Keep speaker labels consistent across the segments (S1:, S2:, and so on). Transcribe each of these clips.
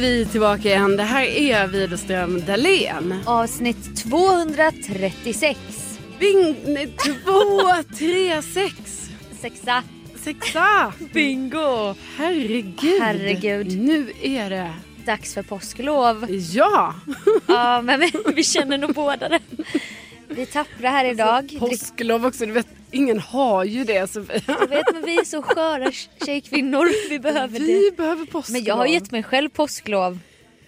S1: vi tillbaka igen. Det här är Widerström Dahlén.
S2: Avsnitt 236.
S1: Bing... nej, Två, tre, sex.
S2: Sexa.
S1: Sexa!
S2: Bingo!
S1: Herregud.
S2: Herregud.
S1: Nu är det...
S2: Dags för påsklov.
S1: Ja!
S2: Ja, men vi, vi känner nog båda det. Vi är tappra här idag.
S1: Alltså,
S2: Drick-
S1: Påsklov också. Du vet, ingen har ju det. Så vi
S2: Jag vet men vi är så sköra tjejkvinnor. Vi behöver det.
S1: vi behöver påsklov.
S2: Men jag har gett mig själv påsklov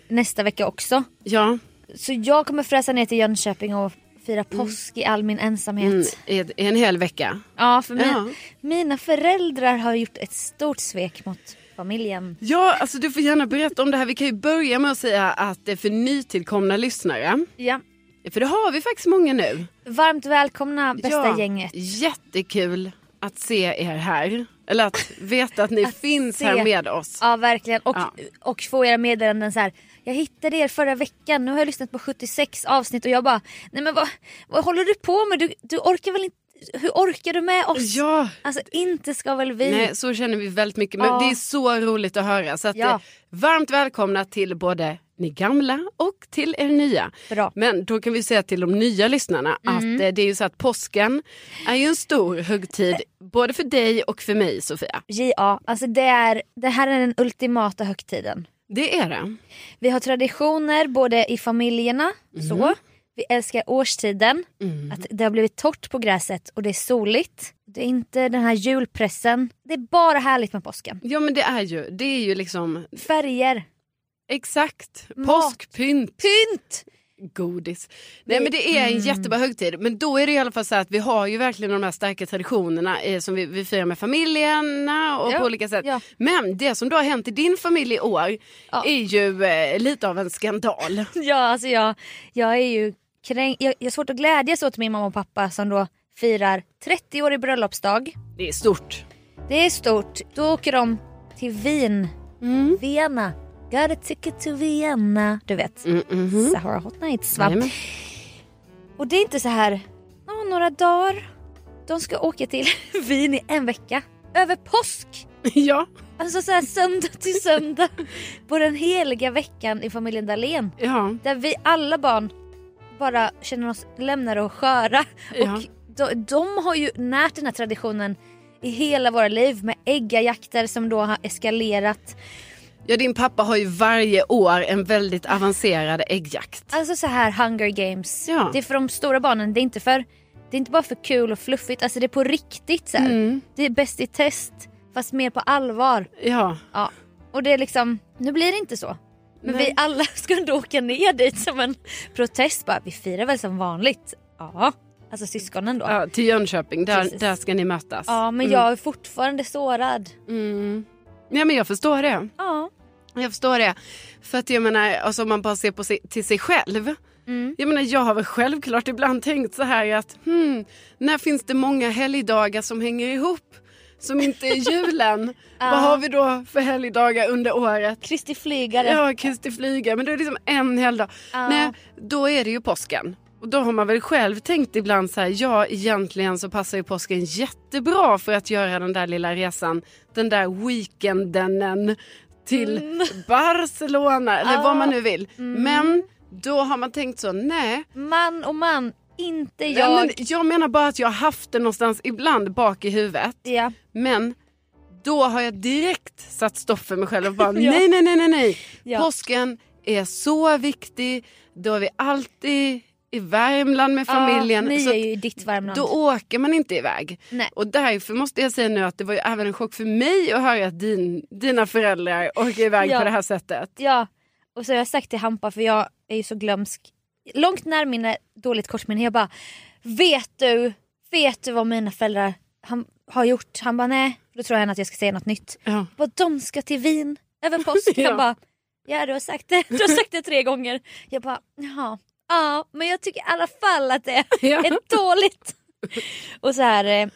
S2: nästa vecka också.
S1: Ja,
S2: Så jag kommer fräsa ner till Jönköping och fira påsk i all min ensamhet.
S1: mm, i- i en hel vecka.
S2: Ja, för min,
S1: Ja.
S2: mina föräldrar har gjort ett stort svek mot familjen.
S1: Ja, alltså du får gärna berätta om det här. Vi kan ju börja med att säga att det är för nytillkomna lyssnare.
S2: Ja.
S1: För det har vi faktiskt många nu.
S2: Varmt välkomna bästa
S1: Ja,
S2: gänget.
S1: Jättekul att se er här. Eller att veta att ni
S2: Att
S1: finns
S2: se.
S1: här med oss.
S2: Ja verkligen och,
S1: Ja.
S2: och få era meddelanden så här. Jag hittade er förra veckan, nu har jag lyssnat på 76 avsnitt och jag bara Nej men vad, vad håller du på med? Du, du orkar väl inte, hur orkar du med oss?
S1: Ja,
S2: Alltså inte ska väl vi?
S1: nej, så känner vi väldigt mycket. Men
S2: Ja.
S1: det är så roligt att höra. Så att,
S2: Ja.
S1: eh, varmt välkomna till både ni gamla och till er nya.
S2: Bra.
S1: Men då kan vi säga till de nya lyssnarna
S2: Mm.
S1: att eh, det är ju så att påsken är ju en stor högtid både för dig och för mig Sofia.
S2: Ja, alltså det, är, det här är den ultimata högtiden.
S1: Det är det.
S2: Vi har traditioner både i familjerna,
S1: Mhm.
S2: så. Vi älskar årstiden,
S1: Mm.
S2: att det har blivit torrt på gräset och det är soligt. Det är inte den här julpressen. Det är bara härligt med påsken.
S1: Ja men det är ju, det är ju liksom
S2: Färger,
S1: exakt
S2: Mat.
S1: påskpynt.
S2: pynt!
S1: Godis. Nej men det är
S2: mm.
S1: en jättebra högtid. Men då är det i alla fall så att vi har ju verkligen de här starka traditionerna eh, som vi, vi firar med familjerna och
S2: Ja,
S1: på olika sätt.
S2: ja.
S1: Men det som då har hänt i din familj i år
S2: Ja.
S1: är ju eh, lite av en skandal.
S2: Ja, alltså jag, jag är ju kränkt. Jag, jag har svårt att glädjas åt min mamma och pappa som då firar 30 år i bröllopsdag.
S1: Det är stort.
S2: Det är stort. Då åker de till Wien.
S1: Mm.
S2: Vienna. Got a ticket to Vienna. Du vet.
S1: Mm, mhm.
S2: Sahara Hot Nights va?
S1: Jajamän.
S2: Och det är inte så här, "Ja, några dagar. De ska åka till Wien i en vecka. Över påsk!
S1: ja,
S2: Alltså så här söndag till söndag. På den heliga veckan i familjen Dahlén.
S1: ja,
S2: Där vi alla barn bara känner oss lämnade och sköra.
S1: Ja.
S2: Och de, de har ju närt den här traditionen i hela våra liv med äggajakter som då har eskalerat.
S1: ja, din pappa har ju varje år en väldigt avancerad äggjakt.
S2: Alltså så här hunger games.
S1: Ja.
S2: Det är för de stora barnen. Det är inte för det är inte bara för kul och fluffigt. Alltså det är på riktigt så här.
S1: Mm.
S2: Det är bäst i test fast mer på allvar.
S1: Ja,
S2: Ja. Och det är liksom, nu blir det inte så. Men
S1: Nej.
S2: vi alla ska ändå åka ner dit som en protest bara. Vi firar väl som vanligt. Ja. Alltså syskonen då.
S1: ja, till Jönköping, där,
S2: Precis.
S1: där ska ni mötas.
S2: Ja men jag är fortfarande sårad.
S1: Mm. Ja, men jag förstår det.
S2: Ja.
S1: Jag förstår det. För att jag menar, alltså om man bara ser på sig, till sig själv. Jag menar, jag har väl självklart ibland tänkt så här att hmm, när finns det många helgdagar som hänger ihop? Som inte är julen. Vad har vi då för helgdagar under året?
S2: Kristi flygare.
S1: Ja, Kristi flyga, men då är det liksom en helgdag.
S2: Ja.
S1: Nej, då är det ju påsken. Och då har man väl själv tänkt ibland så här, ja egentligen så passar ju påsken jättebra för att göra den där lilla resan, den där weekenden till Barcelona eller
S2: Mm. Ja. Mm.
S1: vad man nu vill. Men då har man tänkt så, nej.
S2: Man och man. Inte jag.
S1: Jag... Men jag menar bara att jag har haft det någonstans ibland bak i huvudet.
S2: Ja.
S1: Men då har jag direkt satt stopp för mig själv och bara
S2: Ja.
S1: nej, nej, nej, nej, nej.
S2: Ja.
S1: Påsken är så viktig. Då är vi alltid i Värmland med familjen.
S2: Ja, ni
S1: så
S2: är
S1: att
S2: ju i ditt Värmland.
S1: då åker man inte iväg.
S2: Nej.
S1: Och därför måste jag säga nu att det var ju även en chock för mig att höra att din, dina föräldrar åker iväg
S2: Ja.
S1: på det här sättet.
S2: Ja, och så har jag sagt till Hampa för jag är ju så glömsk. Långt närminne, dåligt kortminne. Jag bara, vet du, vet du vad mina föräldrar han, har gjort? Han bara, nej. Då tror han att jag ska säga något nytt.
S1: Ja.
S2: Vad de ska till Wien över påsk.
S1: Ja.
S2: Han bara, ja du har sagt det, du har sagt det tre gånger. Jag bara, jaha. Ja, men jag tycker i alla fall att det
S1: Ja.
S2: är dåligt. Och så här, eh,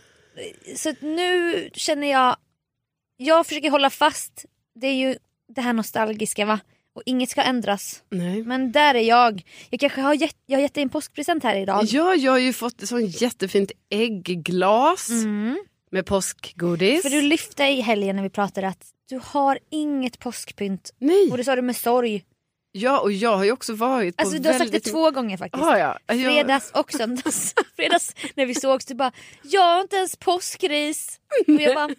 S2: så att nu känner jag, jag försöker hålla fast, det är ju det här nostalgiska va? Och inget ska ändras.
S1: Nej.
S2: Men där är jag. Jag kanske har gett, jag har gett dig en påskpresent här idag.
S1: Ja, jag har ju fått ett sånt jättefint äggglas
S2: Mm.
S1: med påskgodis.
S2: För du lyfte i helgen när vi pratade att du har inget påskpynt.
S1: Nej.
S2: Och det sa du med sorg.
S1: Ja, och jag har ju också varit på
S2: Alltså du har sagt
S1: väldigt...
S2: det två gånger faktiskt.
S1: Har jag? Jag-
S2: Fredags och söndags. Fredags när vi sågs du bara “jag har inte ens påskris”. Och jag bara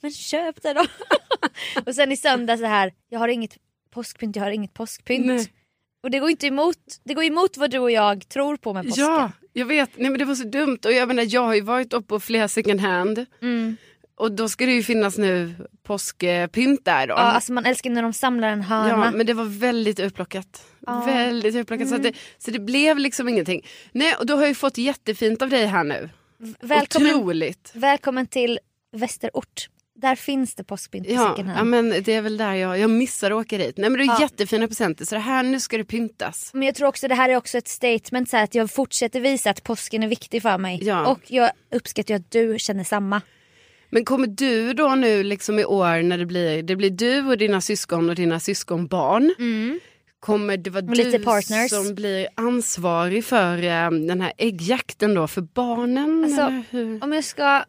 S2: “men köp det då”. och sen i söndags så här “jag har inget påskpynt, jag har inget påskpynt”.
S1: Nej.
S2: Och det går inte emot, det går emot vad du och jag tror på med påsken.
S1: Ja, jag vet. Nej, men det var så dumt. Och jag, menar, jag har ju varit uppe på flera second hand.
S2: Mm.
S1: Och då ska det ju finnas nu påskpynt där då.
S2: Ja, alltså man älskar när de samlar en hörna.
S1: Ja, men det var väldigt utplockat.
S2: Ja. Mm.
S1: Väldigt utplockat. Så, att det, så det blev liksom ingenting. Nej, och då har jag ju fått jättefint av dig här nu.
S2: V- välkommen,
S1: Otroligt.
S2: välkommen till Västerort. Där finns det påskpynt på
S1: Ja,
S2: second hand.
S1: ja, men det är väl där jag, jag missar att åka dit. Nej, men det är
S2: Ja.
S1: jättefina presenter. Så det här, nu ska det pyntas.
S2: Men jag tror också det här är också ett statement så här, att jag fortsätter visa att påsken är viktig för mig.
S1: Ja.
S2: Och jag uppskattar ju att du känner samma.
S1: Men kommer du då nu liksom i år när det blir, det blir du och dina syskon och dina syskonbarn. Kommer det vara
S2: Och lite
S1: du
S2: partners.
S1: som blir ansvarig för eh, den här äggjakten då för barnen?
S2: Alltså,
S1: eller hur?
S2: Om jag ska, tr-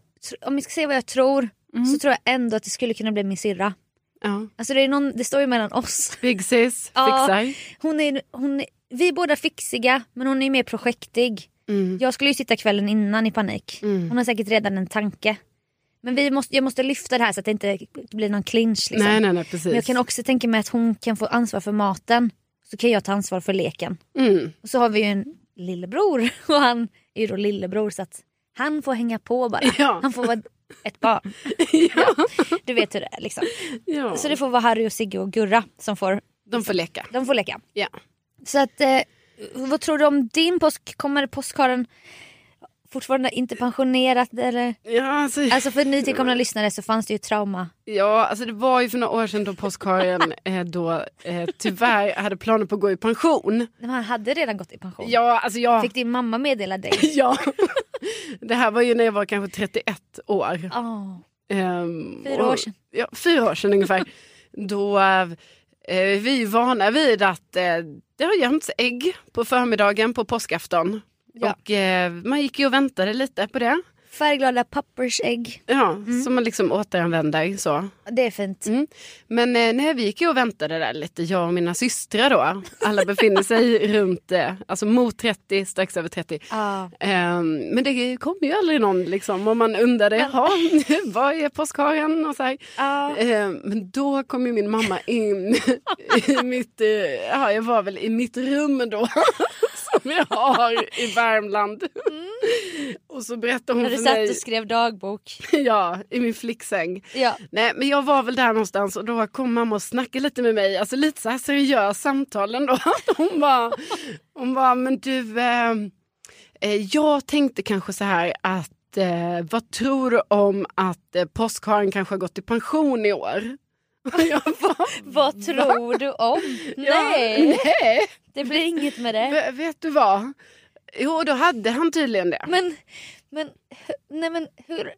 S2: om jag ska säga vad jag tror
S1: Mm.
S2: så tror jag ändå att det skulle kunna bli min syrra.
S1: Ja.
S2: Alltså det, är någon, det står ju mellan oss.
S1: Big sis
S2: Ja.
S1: fixar.
S2: Hon är, hon är, vi är båda fixiga men hon är mer projektig.
S1: Mm.
S2: Jag skulle ju sitta kvällen innan i panik.
S1: Mm.
S2: Hon har säkert redan en tanke. Men vi måste, jag måste lyfta det här så att det inte blir någon clinch. Liksom.
S1: Nej, nej, nej, precis.
S2: Men jag kan också tänka mig att hon kan få ansvar för maten. Så kan jag ta ansvar för leken.
S1: mm.
S2: Och så har vi ju en lillebror och han är ju då lillebror så att han får hänga på bara.
S1: Ja.
S2: Han får vara ett barn.
S1: ja.
S2: Du vet hur det är liksom.
S1: Ja.
S2: Så det får vara Harry och Sigge och Gurra som får,
S1: De får leka.
S2: de får leka.
S1: Ja.
S2: Så att, eh, vad tror du om din påsk? Kommer påskharen fortfarande inte pensionerat eller?
S1: Ja, alltså,
S2: Alltså för nytillkomna lyssnare så fanns det ju trauma.
S1: ja, alltså det var ju för några år sedan då påskharen eh, då, eh, tyvärr hade planer på att gå i pension.
S2: Men Han hade redan gått i pension.
S1: Ja, alltså jag...
S2: Fick din mamma meddela dig?
S1: Ja. Det här var ju när jag var kanske 31 år.
S2: Ja.
S1: Ehm,
S2: Fyra år sedan.
S1: Ja, fyra år sedan ungefär. Då eh, är vi är vana vid att eh, det har gömts ägg på förmiddagen på påskafton.
S2: Ja.
S1: Och eh, man gick ju och väntade lite på det.
S2: Färgglada pappersägg.
S1: Ja, Som man liksom återanvänder så.
S2: Det är fint.
S1: Mm. Men eh, nej, vi gick ju och väntade där lite, jag och mina systrar då. Alla befinner sig runt, eh, alltså mot 30, strax över 30.
S2: Ja.
S1: Ehm, men det kom ju aldrig någon liksom och man undrade, jaha, vad är påskharen och så här.
S2: Ja.
S1: Ehm, men då kom ju min mamma in i mitt, eh, ja jag var väl i mitt rum då. som jag har i Värmland. Och så berättade hon
S2: Mm. När
S1: för
S2: du satt och
S1: mig,
S2: skrev dagbok.
S1: ja, i min flicksäng.
S2: Ja.
S1: Nej, men jag var väl där någonstans och då kom mamma och snackade lite med mig. Alltså lite så här seriös samtal ändå. Hon bara, hon bara men du, eh, eh, jag tänkte kanske så här att eh, vad tror du om att eh, påskharen kanske har gått i pension i år? Och jag bara,
S2: Vad tror du om?
S1: ja,
S2: Nej,
S1: nej,
S2: det blir inget med det.
S1: v- vet du vad? Jo, då hade han tydligen det.
S2: Men, men, hu- nej men hur,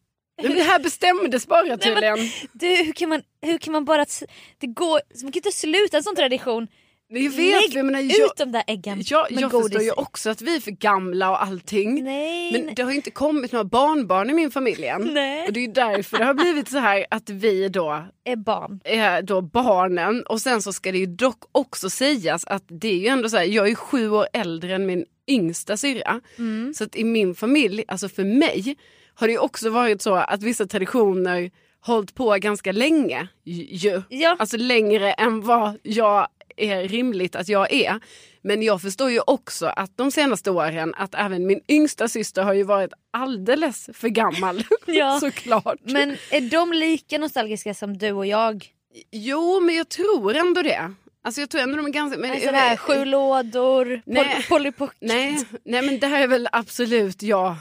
S1: Men det här bestämdes bara
S2: men-
S1: tydligen.
S2: du, hur, kan man, hur kan man bara... s- Det går, man kan inte sluta en sån tradition.
S1: Jag vet,
S2: Lägg
S1: jag menar, jag,
S2: Ut de där äggen
S1: jag,
S2: med
S1: jag
S2: godis.
S1: förstår ju också att vi är för gamla och allting.
S2: Nej,
S1: Men
S2: nej.
S1: det har ju inte kommit några barnbarn i min familj än.
S2: Nej.
S1: Och det är ju därför det har blivit så här att vi då
S2: är barn.
S1: är då barnen och sen så ska det ju dock också sägas att det är ju ändå så här, jag är sju år äldre än min yngsta syrra.
S2: Mm.
S1: Så att i min familj, alltså för mig, har det ju också varit så att vissa traditioner hållit på ganska länge ju.
S2: Ja.
S1: Alltså längre än vad jag är rimligt att jag är. Men jag förstår ju också att de senaste åren att även min yngsta syster har ju varit alldeles för gammal.
S2: Ja.
S1: Såklart.
S2: Men är de lika nostalgiska som du och jag?
S1: Jo, men jag tror ändå det. Alltså jag tror ändå de är ganska... Men,
S2: Alltså det här, sju lådor,
S1: Nej.
S2: pol- Polly Pocket.
S1: nej, nej, men det här är väl absolut jag.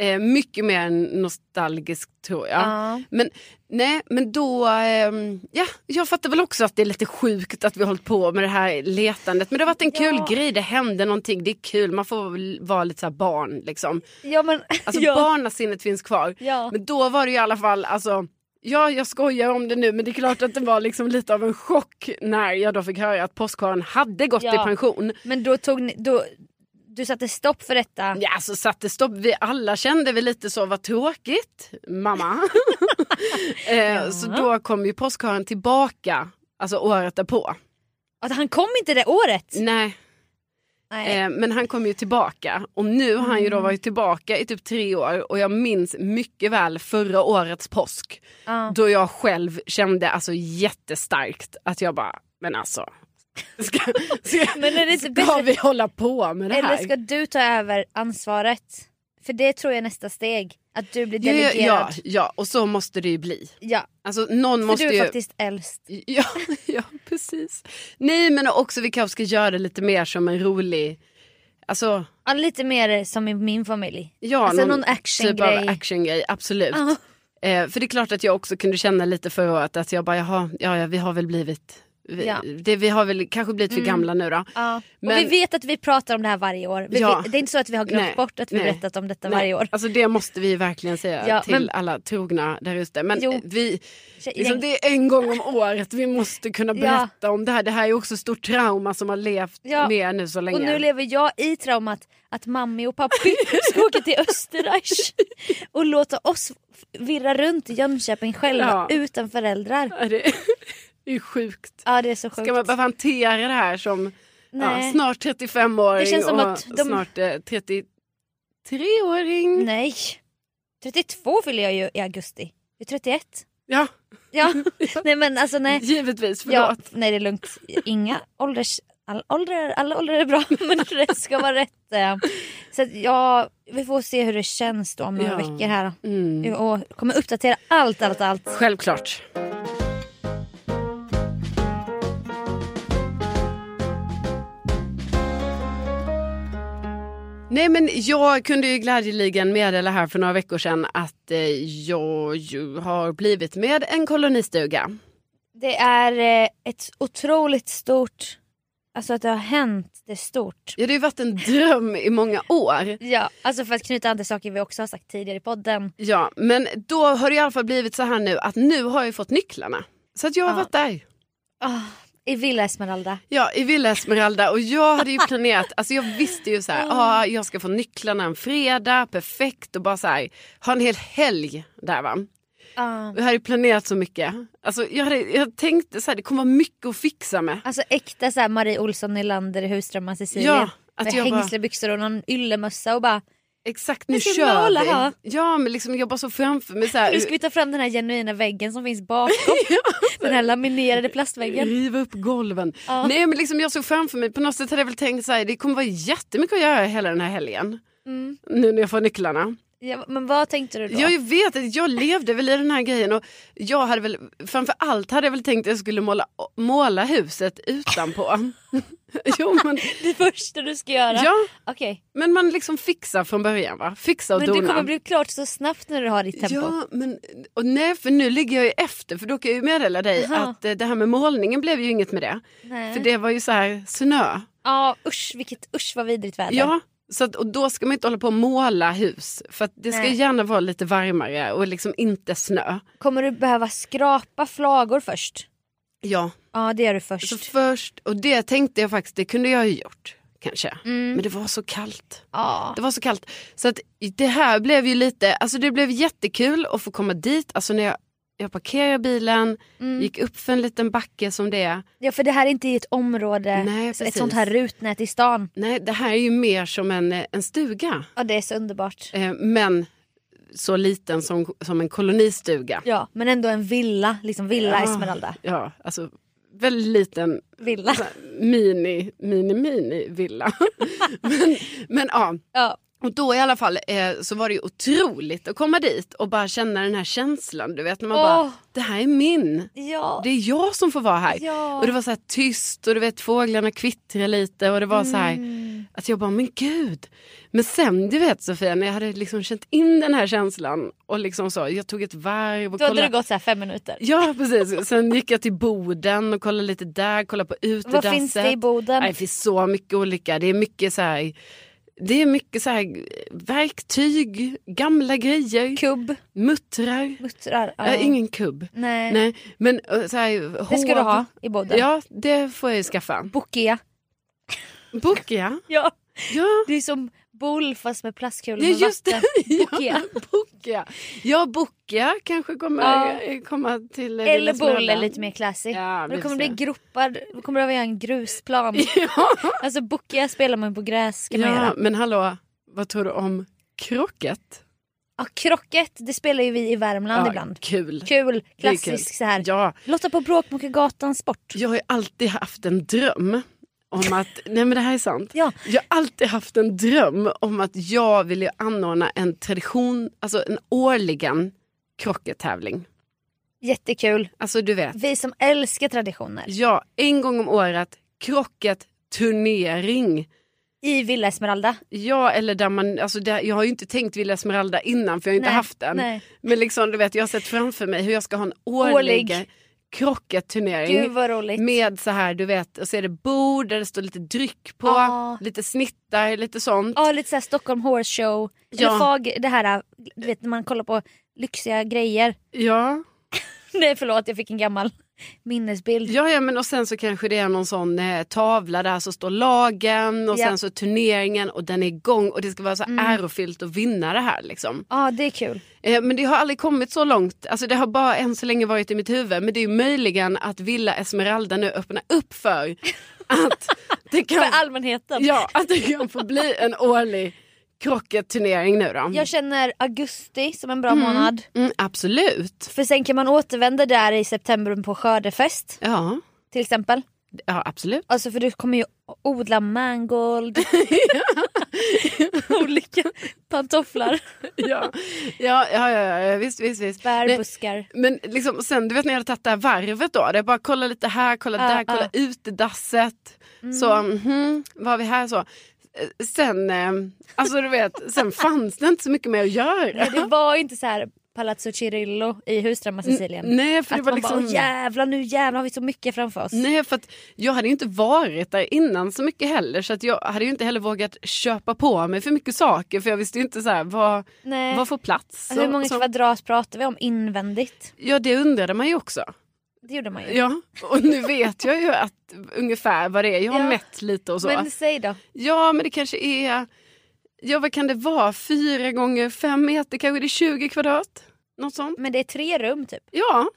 S1: Eh, mycket mer nostalgisk tror jag.
S2: Ja.
S1: Men, nej, men då... ehm, ja, jag fattar väl också att det är lite sjukt att vi har hållit på med det här letandet. Men det har varit en
S2: Ja.
S1: kul grej, det hände någonting, det är kul. Man får väl vara lite så här barn liksom.
S2: Ja, men,
S1: Alltså
S2: ja.
S1: barnasinnet finns kvar.
S2: Ja.
S1: Men då var det ju i alla fall, alltså, ja jag skojar om det nu men det är klart att det var liksom lite av en chock när jag då fick höra att påskharen hade gått
S2: Ja.
S1: i pension.
S2: Men då tog ni, då, du satte stopp för detta.
S1: Ja, alltså, så satte stopp. Vi alla kände väl lite så, vad tråkigt, mamma. eh, Så då kom ju påskharen tillbaka, alltså året därpå.
S2: Att han kom inte det året.
S1: Nej,
S2: Nej.
S1: eh, men han kom ju tillbaka och nu har han ju
S2: Mm.
S1: då varit tillbaka i typ tre år och jag minns mycket väl förra årets påsk
S2: Ja.
S1: då jag själv kände alltså jättestarkt att jag bara, men alltså ska, ska,
S2: Men är det inte
S1: ska
S2: bättre-
S1: vi hålla på med det här?
S2: Eller ska du ta över ansvaret? För det tror jag är nästa steg. Att du blir
S1: Ja, ja,
S2: delegerad.
S1: ja,
S2: Ja,
S1: ja, och så måste det ju bli. Alltså någon
S2: För
S1: måste
S2: du är
S1: ju...
S2: faktiskt äldst.
S1: Ja, ja, precis. Nej, men också vi kanske ska göra det lite mer som en rolig... Alltså,
S2: Ja, lite mer som i min familj.
S1: ja,
S2: Alltså, någon actiongrej.
S1: typ av actiongrej. Absolut.
S2: Ja.
S1: Eh, för det är klart att jag också kunde känna lite förra året att jag bara, jaha, ja, ja, vi har väl blivit... Vi,
S2: Ja. Mm.
S1: det, vi har väl kanske blivit för gamla nu då.
S2: Ja.
S1: Men-
S2: Och vi vet att vi pratar om det här varje år. Vi
S1: Ja.
S2: vet, det är inte så att vi har glömt
S1: Nej,
S2: bort att vi
S1: nej,
S2: berättat om detta
S1: Nej,
S2: varje år.
S1: Alltså det måste vi verkligen säga
S2: Ja,
S1: till
S2: men-
S1: alla trogna där ute. Men
S2: Jo.
S1: eh, vi,
S2: Tje-
S1: liksom,
S2: gäng-
S1: det är en gång om året vi måste kunna
S2: Ja.
S1: berätta om det här. Det här är ju också ett stort trauma som har levt
S2: Ja.
S1: med nu så länge.
S2: Och nu lever jag i traumat att mamma och pappa ska åka till Österreich och låta oss virra runt i Jönköping själva
S1: Ja.
S2: utan föräldrar.
S1: Ja, det det är sjukt.
S2: Ja det är så sjukt.
S1: Ska man behöva hantera det här som ja,
S2: Nej.
S1: snart 35-åring
S2: Det känns som
S1: och
S2: att de-
S1: snart eh, 33-åring?
S2: Nej. 32 fyller jag ju i augusti. Jag är 31.
S1: Ja,
S2: Ja. nej men alltså nej.
S1: givetvis.
S2: Ja,
S1: Förlåt.
S2: nej det är lugnt. Inga ålders... All, åldrar, alla åldrar är bra men rätt ska vara rätt. eh. Så att, ja, vi får se hur det känns då om några
S1: Ja.
S2: veckor här.
S1: Mm.
S2: då. Och kommer uppdatera allt, allt, allt.
S1: Självklart. Nej men jag kunde ju glädjeligen meddela här för några veckor sedan att eh, jag ju har blivit med en kolonistuga.
S2: Det är eh, ett otroligt stort... Alltså att det har hänt, det är stort.
S1: Ja, det har ju varit en dröm i många år.
S2: Ja, alltså för att knyta an till saker vi också har sagt tidigare i podden.
S1: Ja, men då har det i alla fall blivit så här nu att nu har jag ju fått nycklarna. Så att jag har
S2: Ja.
S1: varit där.
S2: Ah, I Villa Esmeralda.
S1: Ja, i Villa Esmeralda och jag hade ju planerat, alltså jag visste ju så här, ah, jag ska få nycklarna en fredag, perfekt och bara så här, ha en hel helg där va.
S2: Ah.
S1: Och Jag hade ju planerat så mycket. Alltså jag, hade, jag tänkte så här, det kommer vara mycket att fixa med.
S2: Alltså äkta så här Marie Olsson Nylander i Husdrömmar Sicilien.
S1: Ja, att
S2: med
S1: jag bara,
S2: hängslebyxor och någon yllemössa och bara
S1: exakt nu
S2: Nu ska vi
S1: kör
S2: måla här.
S1: vi. Ja, men liksom jag bara så framför mig så här,
S2: nu ska vi ta fram den här genuina väggen som finns bakom. den här laminerade plastväggen.
S1: Riva upp golven.
S2: Ja.
S1: Nej men liksom jag såg framför mig, på något sätt hade jag väl tänkt så här, det kommer vara jättemycket att göra hela den här helgen.
S2: Mm.
S1: Nu när jag får nycklarna.
S2: Ja, men vad tänkte du då?
S1: Jag vet att jag levde väl i den här grejen och jag hade väl, framför allt hade jag väl tänkt att jag skulle måla, måla huset utanpå. jo men,
S2: Det första du ska göra?
S1: ja,
S2: Okej,
S1: men man liksom fixar från början va, fixa och
S2: men
S1: dona.
S2: det kommer bli klart så snabbt när du har ditt tempo.
S1: Ja, men och nej för nu ligger jag ju efter för då kan jag ju meddela dig
S2: Jaha.
S1: att eh, det här med målningen blev ju inget med det.
S2: Nej.
S1: För det var ju så här snö.
S2: Ja usch, vilket, usch vad vidrigt väder.
S1: Ja, så att, och då ska man inte hålla på och måla hus. För att det ska
S2: Nej.
S1: gärna vara lite varmare och liksom inte snö.
S2: Kommer du behöva skrapa flagor först?
S1: Ja,
S2: Ja det gör du först.
S1: så först, och det tänkte jag faktiskt, det kunde jag ju gjort kanske.
S2: Mm.
S1: Men det var så kallt.
S2: ja.
S1: Det var så kallt. Så att det här blev ju lite, alltså det blev jättekul att få komma dit. Alltså när jag, jag parkerade bilen,
S2: Mm.
S1: gick upp för en liten backe som det är.
S2: ja för det här är inte i ett område,
S1: Nej,
S2: Eh, så ett
S1: precis.
S2: sånt här rutnät i stan.
S1: Nej, det här är ju mer som en, eh, en stuga.
S2: Ja det är så underbart.
S1: Eh, men så liten som, som en kolonistuga.
S2: Ja men ändå en villa, liksom villa
S1: Ja.
S2: Esmeralda.
S1: Ah, Ja, alltså väldigt liten
S2: Villa.
S1: så här, mini, mini, mini villa. men, men ja,
S2: Ja.
S1: och då i alla fall eh, så var det ju otroligt att komma dit och bara känna den här känslan. Du vet när man bara,
S2: Åh.
S1: det här är min.
S2: Ja.
S1: Det är jag som får vara här.
S2: Ja.
S1: Och det var så här tyst och du vet fåglarna kvittrade lite och det var så här
S2: Mm.
S1: att jag bara, men gud. Men sen du vet Sofia, när jag hade liksom känt in den här känslan och liksom så, jag tog ett varv och
S2: Då hade
S1: kollade.
S2: det gått så här fem minuter.
S1: Ja precis, sen gick jag till Boden och kollade lite där, kollade på utedasset.
S2: Vad finns det i Boden?
S1: Nej, det finns så mycket olika. Det är mycket så här, det är mycket så här verktyg, gamla grejer,
S2: Kubb,
S1: muttrar.
S2: muttrar. Ja.
S1: Äh, ingen kubb.
S2: Nej.
S1: Nej, men eh, så här,
S2: Det ska
S1: hov.
S2: du ha i Boden.
S1: Ja, det får jag ju skaffa.
S2: Bokia.
S1: Bokia.
S2: Ja.
S1: Ja,
S2: Det är som boule fast med plastkulor
S1: Ja
S2: med
S1: just det,
S2: vatten. Bokia.
S1: ja, bokia. Ja, bokia kanske kommer eh, komma till eh,
S2: Eller
S1: Lilla
S2: boule
S1: Smedjan.
S2: är lite mer classy.
S1: Ja,
S2: Men
S1: vi
S2: då kommer det
S1: får
S2: bli gropar, då kommer du behöva göra en grusplan.
S1: se. ja.
S2: Alltså bokia spelar man på gräs kan man
S1: ja,
S2: göra.
S1: men hallå, vad tror du om krocket?
S2: Ja, krocket, det spelar ju vi i Värmland
S1: Ja,
S2: ibland.
S1: Kul.
S2: Kul,
S1: Det är
S2: klassisk så här.
S1: Ja,
S2: Lotta på Bråkmakargatan sport.
S1: jag har ju alltid haft en dröm om att, nej men det här är sant.
S2: Ja.
S1: Jag har alltid haft en dröm om att jag vill ju anordna en tradition, alltså en årligen krockettävling.
S2: Jättekul.
S1: Alltså du vet,
S2: Vi som älskar traditioner.
S1: ja, en gång om året, krocketturnering.
S2: I Villa Esmeralda.
S1: Ja, eller där man, alltså där, jag har ju inte tänkt Villa Esmeralda innan för jag har inte
S2: Nej,
S1: haft den.
S2: Nej.
S1: Men liksom, du vet, jag har sett framför mig hur jag ska ha en årlig,
S2: Årlig. Gud
S1: krocketturnering.
S2: vad roligt.
S1: Med så här, du vet, och så är det bord där det står lite dryck på,
S2: Ja.
S1: lite snittar, lite sånt.
S2: Ja lite såhär Stockholm Horse Show. Eller
S1: Ja.
S2: fag, det här du vet när man kollar på lyxiga grejer.
S1: Ja.
S2: Nej förlåt jag fick en gammal minnesbild.
S1: Ja, ja, men och sen så kanske det är någon sån eh, tavla där så står lagen och
S2: Ja.
S1: sen så turneringen och den är igång och det ska vara så
S2: Mm.
S1: ärofyllt att vinna det här liksom.
S2: Ja det är kul.
S1: Eh, men det har aldrig kommit så långt, alltså det har bara än så länge varit i mitt huvud men det är ju möjligen att Villa Esmeralda nu öppnar upp för att det kan,
S2: För allmänheten.
S1: ja, att det kan få bli en årlig krocketturnering nu då.
S2: Jag känner augusti som en bra
S1: Mm.
S2: månad.
S1: Mm, absolut.
S2: För sen kan man återvända där i september på skördefest
S1: Ja,
S2: till exempel.
S1: ja absolut.
S2: Alltså för du kommer ju odla mangold. Olika pantofflar,
S1: Ja, ja, ja, ja, ja visst, visst, visst.
S2: bär,
S1: Nej,
S2: buskar.
S1: Men liksom, sen du vet när jag hade tagit det här varvet då, det är bara kolla lite här, kolla
S2: Ja,
S1: där,
S2: ja. Mm.
S1: kolla utedasset. Så, mhm, vad har vi här så? Eh, Sen, eh, alltså du vet, sen fanns det inte så mycket mer att göra.
S2: Nej, det var ju inte så här Palazzo Cirillo i Huströmma Sicilien.
S1: Nej, för det
S2: att
S1: var
S2: man bara
S1: liksom...
S2: "Åh, jävlar nu jävlar har vi så mycket framför oss.
S1: Nej, för att jag hade ju inte varit där innan så mycket heller så att jag hade ju inte heller vågat köpa på mig för mycket saker för jag visste ju inte så här, vad,
S2: Nej.
S1: vad får plats.
S2: Eh, alltså, Hur
S1: Och
S2: många
S1: så,
S2: kvadrat pratar vi om invändigt?
S1: ja, det undrade man ju också.
S2: Det gjorde man ju.
S1: Ja, och nu vet jag ju att ungefär vad det är. Jag har
S2: Ja.
S1: mätt lite och så.
S2: Men säg då.
S1: Ja, men det kanske är... Ja, vad kan det vara? Fyra gånger fem meter, kanske det är 20 kvadrat? Något sånt.
S2: Men det är tre rum typ.
S1: Ja,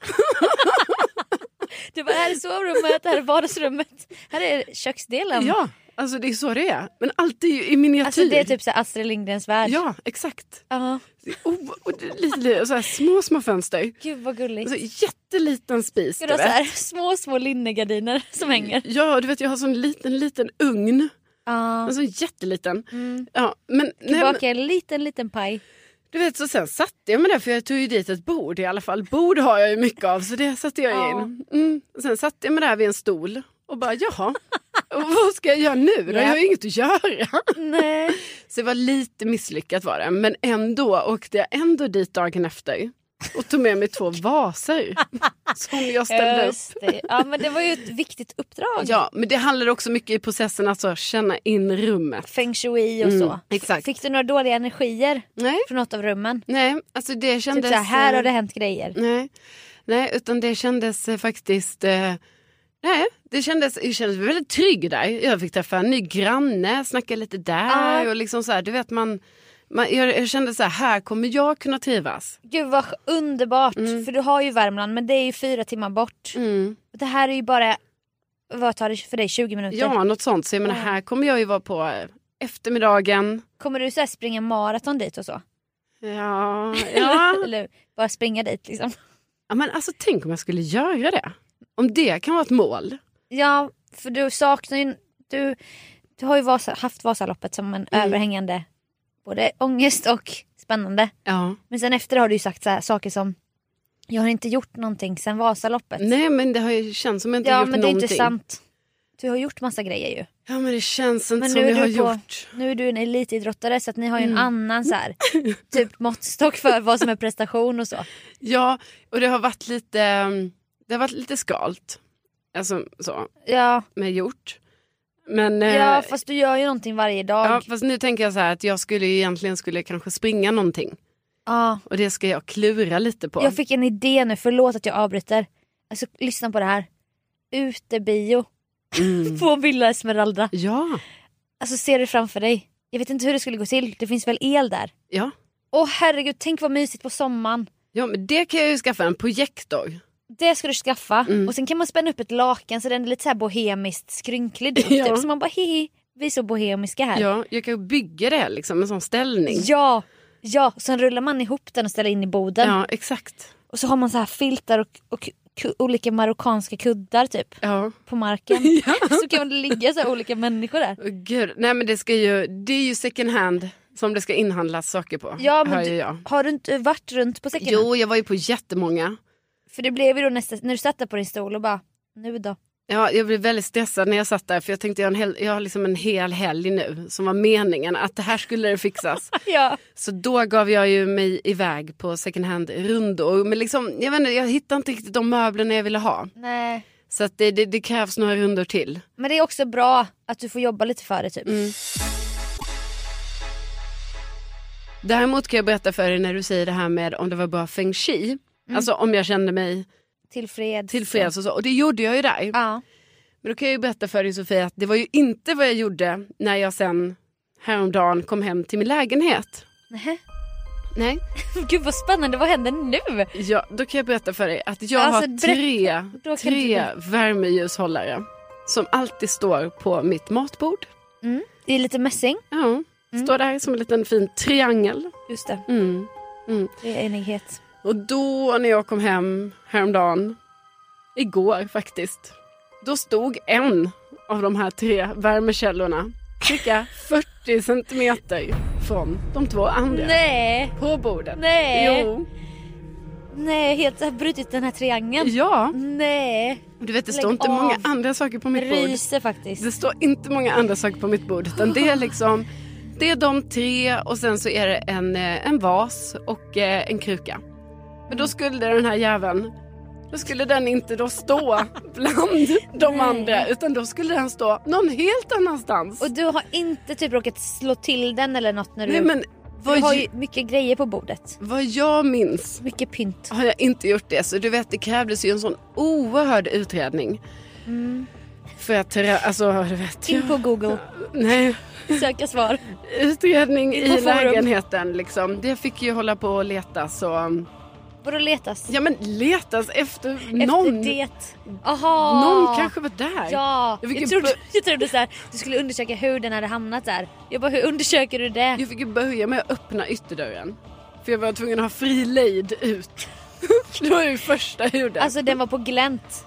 S2: Du bara här är sovrummet, här är vardagsrummet, här är köksdelen.
S1: ja. Alltså det är så det är. Men allt är ju i miniatyr.
S2: Alltså det är typ så här Astrid Lindgrens värld.
S1: Ja, exakt.
S2: Ja.
S1: Det är O Oh, och det är lite, lite, så här, små, små fönster.
S2: Gud vad gulligt.
S1: Alltså, jätteliten spis.
S2: Ska
S1: Du
S2: du ha så
S1: vet.
S2: här, små små linnegardiner som hänger?
S1: Ja, du vet jag har sån liten, liten ugn.
S2: Ja.
S1: Alltså jätteliten.
S2: Mm.
S1: Ja, men, nej, men,
S2: Baka en liten liten paj.
S1: du vet, så sen satte jag mig där, för jag tog ju dit ett bord i alla fall. Bord har jag ju mycket av, så det satte jag
S2: Ja.
S1: in. Mm. Sen satte jag mig där vid en stol och bara, jaha, och vad ska jag göra nu då? Jag har ju inget att göra.
S2: Nej.
S1: Så det var lite misslyckat var det, men ändå åkte jag ändå dit dagen efter och tog med mig två vaser som jag ställde upp.
S2: Just det. Ja men det var ju ett viktigt uppdrag.
S1: Ja, men det handlade också mycket i processen att alltså, känna in rummet.
S2: Feng shui och
S1: Mm,
S2: så.
S1: exakt.
S2: Fick du några dåliga energier
S1: Nej,
S2: från något av rummen?
S1: nej, alltså det
S2: Typ
S1: kändes...
S2: såhär, här
S1: eh,
S2: har det hänt grejer.
S1: Nej, nej utan det kändes eh, faktiskt... Eh, nej, det kändes, jag kändes väldigt trygg där. Jag fick träffa en ny granne, snacka lite där
S2: Ja.
S1: och liksom så här, du vet man... man jag, jag kände så här, här kommer jag kunna trivas.
S2: Gud vad sk- underbart. För du har ju Värmland men det är ju fyra timmar bort.
S1: Mm.
S2: Det här är ju bara, vad tar det för dig, 20 minuter?
S1: Ja, något sånt. Så jag menar,
S2: Ja.
S1: här kommer jag ju vara på eh, eftermiddagen.
S2: Kommer du så här springa maraton dit och så?
S1: Ja, ja.
S2: Eller bara springa dit liksom?
S1: ja, men alltså tänk om jag skulle göra det. Om det kan vara ett mål.
S2: Ja, för du saknar ju... Du, du har ju Vasa, haft Vasaloppet som en
S1: Mm.
S2: överhängande både ångest och spännande.
S1: Ja.
S2: Men sen efter har du ju sagt så här, saker som jag har inte gjort någonting sen Vasaloppet.
S1: Nej, men det har ju känts som jag inte
S2: ja
S1: gjort
S2: men det är
S1: någonting.
S2: inte sant. Du har gjort massa grejer ju.
S1: Ja, men det känns inte
S2: Men
S1: som
S2: nu är
S1: jag har
S2: du på-
S1: gjort.
S2: Nu är du en elitidrottare så att ni har ju en
S1: Mm.
S2: annan så här, typ måttstock för vad som är prestation och så.
S1: Ja, och det har varit lite, ehm, det har varit lite skalt. Alltså så,
S2: Ja,
S1: med gjort. Men, eh,
S2: ja fast du gör ju någonting varje dag.
S1: ja,
S2: Ja,
S1: fast nu tänker jag så här att jag skulle ju egentligen skulle kanske springa någonting. Och det ska jag klura lite på.
S2: Jag fick en idé nu, förlåt att jag avbryter. Alltså lyssna på det här. Utebio
S1: Mm.
S2: på Villa Esmeralda.
S1: Ja,
S2: Alltså ser du framför dig. Jag vet inte hur det skulle gå till, det finns väl el där?
S1: Ja.
S2: Åh herregud, tänk vad mysigt på sommaren.
S1: ja, men det kan jag ju skaffa en projektor.
S2: Det ska du skaffa.
S1: Mm.
S2: Och sen kan man spänna upp ett lakan så den är lite så här bohemiskt skrynklig. ut,
S1: Ja.
S2: Typ. Så man bara hehe, vi är så bohemiska här.
S1: Ja, jag kan bygga det liksom, en sån ställning.
S2: ja, ja. Sen rullar man ihop den och ställer in i boden.
S1: Ja, exakt.
S2: Och så har man så här filtar och, och ku- olika marockanska kuddar typ
S1: Ja.
S2: på marken. Så kan det ligga så här olika människor där.
S1: Åh, Gud. Nej, men det, ska ju, det är ju second hand som det ska inhandlas saker på.
S2: Ja, men
S1: hör ju
S2: du,
S1: jag.
S2: har du inte varit runt på säcken?
S1: Jo, jag var ju på jättemånga.
S2: För det blev ju då nästa, när du satt där på din stol och bara nu då?
S1: Ja, jag blev väldigt stressad när jag satt där för jag tänkte jag har, en hel, jag har liksom en hel helg nu som var meningen att det här skulle det fixas.
S2: Ja.
S1: Så då gav jag ju mig iväg på second hand-rundor. Men liksom, jag, vet inte, jag hittade inte riktigt de möblerna jag ville ha.
S2: Nej.
S1: Så att det, det, det krävs några rundor till.
S2: Men det är också bra att du får jobba lite för det typ.
S1: Mm. Däremot kan jag berätta för dig när du säger det här med om det var bra feng shui.
S2: Mm.
S1: Alltså om jag kände mig
S2: Tillfreds.
S1: tillfreds och så. Och det gjorde jag ju där.
S2: Ja.
S1: Men då kan jag ju berätta för dig Sofia att det var ju inte vad jag gjorde när jag sen häromdagen kom hem till min lägenhet.
S2: Nähä.
S1: Nej.
S2: Gud vad spännande, vad händer nu?
S1: Ja, då kan jag berätta för dig att jag
S2: Alltså,
S1: har tre,
S2: då kan
S1: tre värmeljushållare som alltid står på mitt matbord.
S2: Det är lite mässing.
S1: Ja, Står där som en liten fin triangel.
S2: Just det,
S1: Mm.
S2: det är enighet.
S1: Och då när jag kom hem häromdagen, igår faktiskt, då stod en av de här tre värmekällorna cirka 40 centimeter från de två andra
S2: Nej,
S1: på bordet.
S2: Nej.
S1: Jo.
S2: nej, helt jag har brutit den här triangeln.
S1: Ja,
S2: Nej,
S1: du vet det
S2: Lägg
S1: står inte många
S2: av.
S1: andra saker på mitt bord.
S2: ryser faktiskt.
S1: Det står inte många andra saker på mitt bord utan det är liksom det är de tre och sen så är det en, eh, en vas och eh, en kruka. Men då skulle den här jäveln, då skulle den inte då stå bland de
S2: Nej.
S1: andra utan då skulle den stå någon helt annanstans.
S2: Och du har inte typ råkat slå till den eller något när du...
S1: Nej men
S2: du
S1: vad,
S2: har
S1: ju-
S2: ju mycket grejer på bordet.
S1: vad jag minns
S2: Mycket pynt.
S1: har jag inte gjort det så du vet det krävdes ju en sån oerhörd utredning.
S2: Mm.
S1: För att, terra- alltså du vet.
S2: In på google,
S1: Nej,
S2: söka svar.
S1: utredning
S2: På
S1: i
S2: forum.
S1: lägenheten. Liksom. Det fick ju hålla på och letas. Och,
S2: Vadå letas?
S1: ja men letas efter,
S2: Efter
S1: någon.
S2: det. Aha.
S1: Någon kanske var där.
S2: Ja,
S1: Ja, vilken
S2: jag trodde, jag trodde så här, du skulle undersöka hur den hade hamnat där. Jag bara, hur undersöker du det?
S1: Jag fick ju börja med att öppna ytterdörren. För jag var tvungen att ha fri lejd ut. det var ju första huden.
S2: Alltså den var på glänt.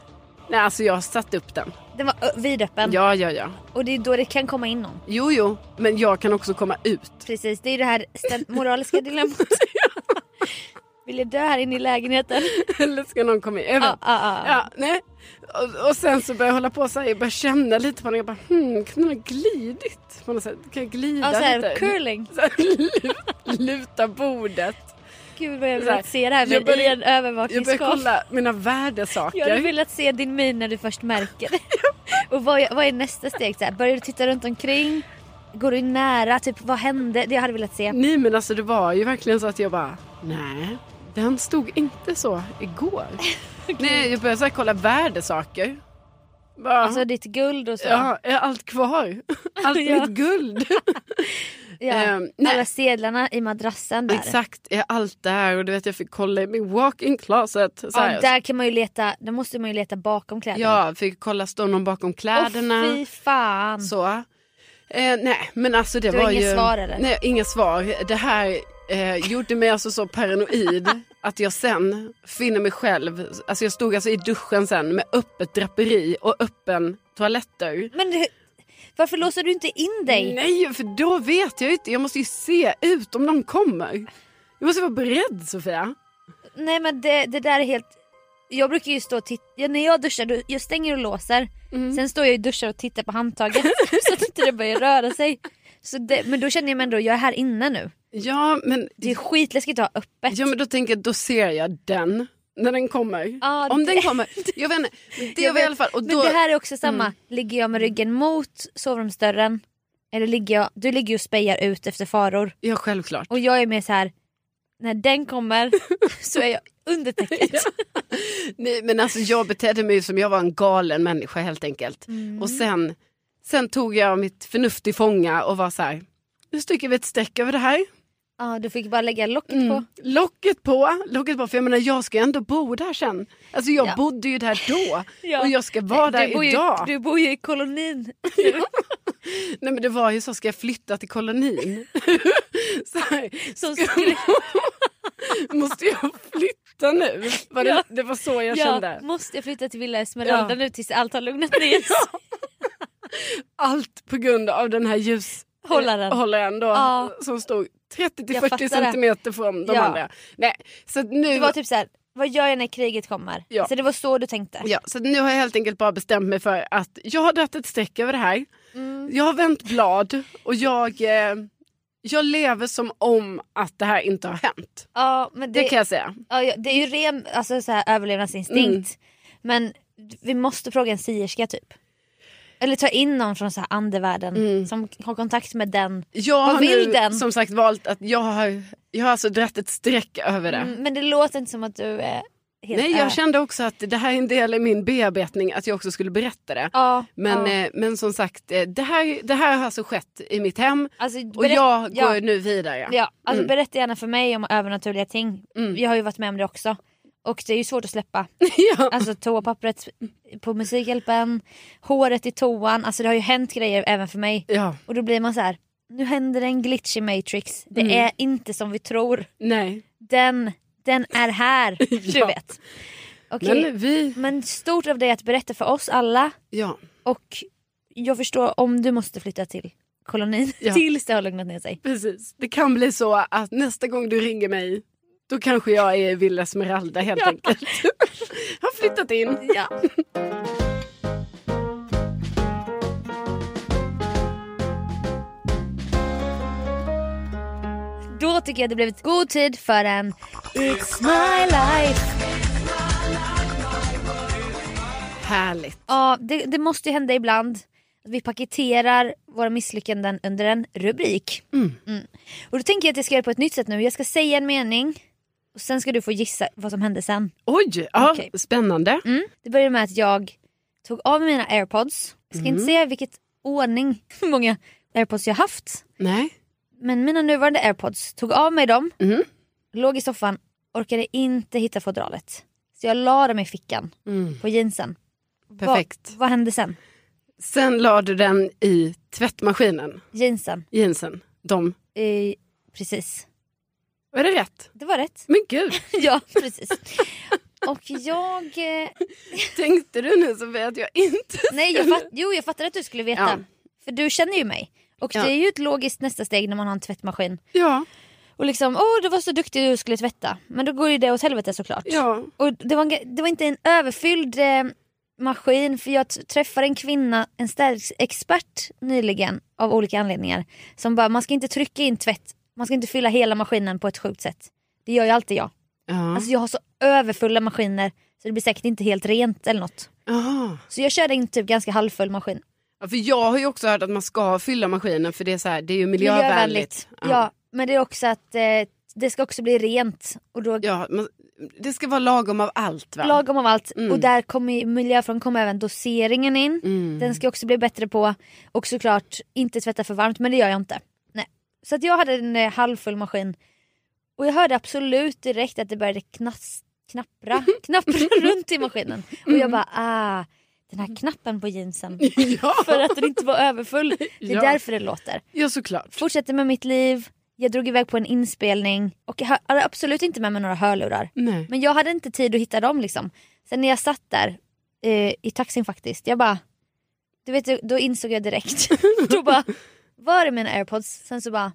S1: Nej alltså jag satte upp den.
S2: Den var ö, vidöppen.
S1: Ja ja ja.
S2: Och det är då det kan komma in någon.
S1: Jo jo. Men jag kan också komma ut.
S2: Precis, det är ju det här ställ- moraliska dilemmat. Vill jag dö här inne i lägenheten?
S1: Eller ska någon komma in? Jag vet
S2: Ja, ja, ja.
S1: Ja, nej. Och, och sen så började jag hålla på så här, jag började känna lite på den. Jag bara, hmm, kan den ha glidit på något sätt? Kan jag glida
S2: Ja, så här,
S1: lite?
S2: curling.
S1: Så här, lut- luta bordet.
S2: Gud vad jag
S1: Så här,
S2: vill se det här
S1: jag
S2: med
S1: börjar-
S2: i en
S1: Jag började
S2: övervakningsskåp.
S1: kolla mina värdesaker.
S2: Jag hade velat se din min när du först märker det. Och vad, är- vad är nästa steg? Så här, börjar du titta runt omkring? Går du nära? Typ, vad hände? Det jag hade velat se.
S1: Nej men alltså det var ju verkligen så att jag bara, nej. Den stod inte så igår. Nej, jag började så här, kolla värdesaker. Bara,
S2: Alltså ditt guld och så.
S1: ja, är allt kvar? Allt
S2: Ja.
S1: mitt guld?
S2: Ja.
S1: ehm, nej.
S2: Alla sedlarna i madrassen där.
S1: Exakt, är allt där? Och du vet jag fick kolla i min walk-in closet. Så här,
S2: Ja, där kan man ju leta, där måste man ju leta bakom kläderna.
S1: Ja, fick kolla står någon bakom kläderna.
S2: Åh fy fan.
S1: så. Eh, nej, men alltså det
S2: Mm. Du har
S1: var ju...
S2: inga svar, eller?
S1: Nej, inga svar. Det här eh, gjorde mig alltså så paranoid att jag sen finner mig själv... Alltså jag stod alltså i duschen sen med öppet draperi och öppen toalettdörr.
S2: Men du, varför låser du inte in dig?
S1: Nej, för då vet jag ju inte. Jag måste ju se ut om någon kommer. Jag måste vara beredd, Sofia.
S2: Nej men det, det där är helt... Jag brukar ju stå och titta, ja, när jag duschar, då- jag stänger och låser.
S1: Mm.
S2: Sen står jag i duschen och tittar på handtaget så att inte det börjar röra sig. Så det, men då känner jag mig ändå, jag är här inne nu.
S1: Ja, men...
S2: Det är skitläskigt att ha öppet.
S1: Ja, men då tänker jag, då ser jag den. När den kommer.
S2: Ja,
S1: Om den
S2: det-
S1: kommer. Jag vet inte. men Det
S2: Jag
S1: var i
S2: vet,
S1: alla fall. Och
S2: Men
S1: då, Mm.
S2: det här är också samma, ligger jag med ryggen mot sovrumsdörren eller ligger jag, du ligger ju och spejar ut efter faror.
S1: Ja, självklart.
S2: Och jag är mer så här. när den kommer så är jag under täcket.
S1: Nej, men alltså, jag betedde mig ju som jag var en galen människa
S2: Mm.
S1: helt enkelt. Och sen, sen tog jag mitt förnuft i fånga och var så här, nu sticker vi ett streck över det här.
S2: Ja, du fick bara lägga locket på.
S1: Mm. Locket på, locket på, för jag menar jag ska ju ändå bo där sen. Alltså jag
S2: Ja. bodde
S1: bodde ju där då
S2: Ja.
S1: och jag ska vara där
S2: du, bor ju,
S1: idag.
S2: du bor ju i kolonin.
S1: Nej men det var ju så, ska jag flytta till kolonin? så här,
S2: Som skulle,
S1: måste jag flytta nu? Var det,
S2: Ja.
S1: det var så jag
S2: ja,
S1: kände.
S2: måste jag flytta till Villa Esmeralda
S1: Ja.
S2: nu tills allt har lugnat ner sig?
S1: Allt på grund av den här
S2: Hållaren.
S1: ljushållaren då,
S2: Ja.
S1: som stod
S2: Jag
S1: 30-40
S2: fattar det.
S1: centimeter från de
S2: Ja.
S1: andra. Nej, så att nu...
S2: Det var typ så här, vad gör jag när kriget kommer?
S1: Ja.
S2: Så det var så du tänkte?
S1: Ja, så nu har jag helt enkelt bara bestämt mig för att jag har dragit ett streck över det här.
S2: Mm.
S1: Jag har vänt blad och jag, eh, jag lever som om att det här inte har hänt.
S2: Ja, men
S1: Det,
S2: det,
S1: kan jag säga.
S2: ja, ja, det är ju ren alltså, så här, överlevnadsinstinkt. Men vi måste fråga en sierska typ. Eller ta in någon från så här andevärlden som har kontakt med den.
S1: Jag
S2: Vad
S1: har
S2: vill
S1: nu
S2: den?
S1: som sagt valt att jag har, jag har alltså dragit ett streck över det.
S2: Mm, Men det låter inte som att du är helt
S1: Nej,
S2: är.
S1: jag kände också att det här är en del i min bearbetning att jag också skulle berätta det.
S2: Ja,
S1: Men,
S2: ja.
S1: eh, men som sagt, eh, det här, det här har alltså skett i mitt hem
S2: Alltså,
S1: och
S2: berätt-
S1: jag går
S2: ja.
S1: nu vidare.
S2: Ja, alltså
S1: Mm.
S2: berätta gärna för mig om övernaturliga ting.
S1: Mm.
S2: Jag har ju varit med om det också. Och det är ju svårt att släppa.
S1: ja.
S2: Alltså toapappret på Musikhjälpen, håret i toan. Alltså det har ju hänt grejer även för mig.
S1: ja.
S2: Och då blir man så här. nu händer en glitch i Matrix. Det
S1: Mm.
S2: är inte som vi tror.
S1: Nej.
S2: Den, den är här. Du
S1: Ja.
S2: vet. Okej.
S1: Men vi...
S2: Men stort av dig att berätta för oss alla.
S1: Ja.
S2: Och jag förstår om du måste flytta till kolonin
S1: Ja.
S2: tills det har lugnat ner sig.
S1: Precis. Det kan bli så att nästa gång du ringer mig då kanske jag är i Villa Esmeralda helt
S2: Ja.
S1: enkelt. Har flyttat in.
S2: Ja. Då tycker jag det blivit god tid för en It's my life.
S1: Härligt.
S2: Ja, det, det måste ju hända ibland. att Vi paketerar våra misslyckanden under en rubrik.
S1: Mm.
S2: Och då tänker jag att jag ska göra det på ett nytt sätt nu. Jag ska säga en mening och sen ska du få gissa vad som hände sen.
S1: Oj, ja,
S2: Okej.
S1: spännande.
S2: Det började med att jag tog av mig mina airpods. Jag ska inte
S1: Mhm.
S2: säga vilket ordning, hur många airpods jag haft.
S1: Nej.
S2: Men mina nuvarande airpods, tog av mig dem,
S1: Mm.
S2: låg i soffan, orkade inte hitta fodralet. Så jag la dem i fickan
S1: Mm.
S2: på jeansen. Va-
S1: Perfekt.
S2: Vad hände sen?
S1: Sen la du den i tvättmaskinen,
S2: Jeansen.
S1: jeansen. De.
S2: Eh, precis.
S1: Var det rätt?
S2: Det var rätt.
S1: Men gud,
S2: ja, precis. Och jag... Eh,
S1: tänkte du nu så att jag inte...
S2: nej, jag fatt, jo, jag fattar att du skulle veta.
S1: Ja.
S2: För du känner ju mig. Och
S1: Ja.
S2: det är ju ett logiskt nästa steg när man har en tvättmaskin.
S1: Ja,
S2: Och liksom, åh du var så duktig du skulle tvätta. Men då går ju det åt helvete såklart.
S1: ja.
S2: Och det var, en, ga- det var inte en överfylld eh, maskin för jag t- träffade en kvinna, en städexpert nyligen av olika anledningar. Som bara, man ska inte trycka in tvätt, man ska inte fylla hela maskinen på ett sjukt sätt. Det gör ju alltid jag.
S1: Mm. ja.
S2: Alltså jag har så överfulla maskiner så det blir säkert inte helt rent eller något.
S1: Aha.
S2: Så jag körde en typ ganska halvfull maskin.
S1: ja. För jag har ju också hört att man ska fylla maskinen för det är, så här, det är ju miljövänligt.
S2: Ja. men det är också att eh, det ska också bli rent och då
S1: Ja, men det ska vara lagom av allt va?
S2: Lagom av allt.
S1: Mm.
S2: Och där kommer ju- miljöfrågan kommer även doseringen in.
S1: Mm.
S2: Den ska också bli bättre på. Och såklart inte tvätta för varmt men det gör jag inte. Nej. Så att jag hade en eh, halvfull maskin. Och jag hörde absolut direkt att det började knas- knappra, knappra runt i maskinen. Och jag bara ah, den här knappen på jeansen.
S1: Mm. Ja,
S2: För att den inte var överfull. Det är
S1: Ja.
S2: därför det låter.
S1: ja såklart.
S2: Fortsätter med mitt liv. Jag drog iväg på en inspelning och jag hade absolut inte med mig några hörlurar.
S1: Nej.
S2: Men jag hade inte tid att hitta dem liksom. Sen när jag satt där eh, i taxin faktiskt, jag bara... Du vet, då insåg jag direkt. då bara, var är mina airpods? Sen så bara...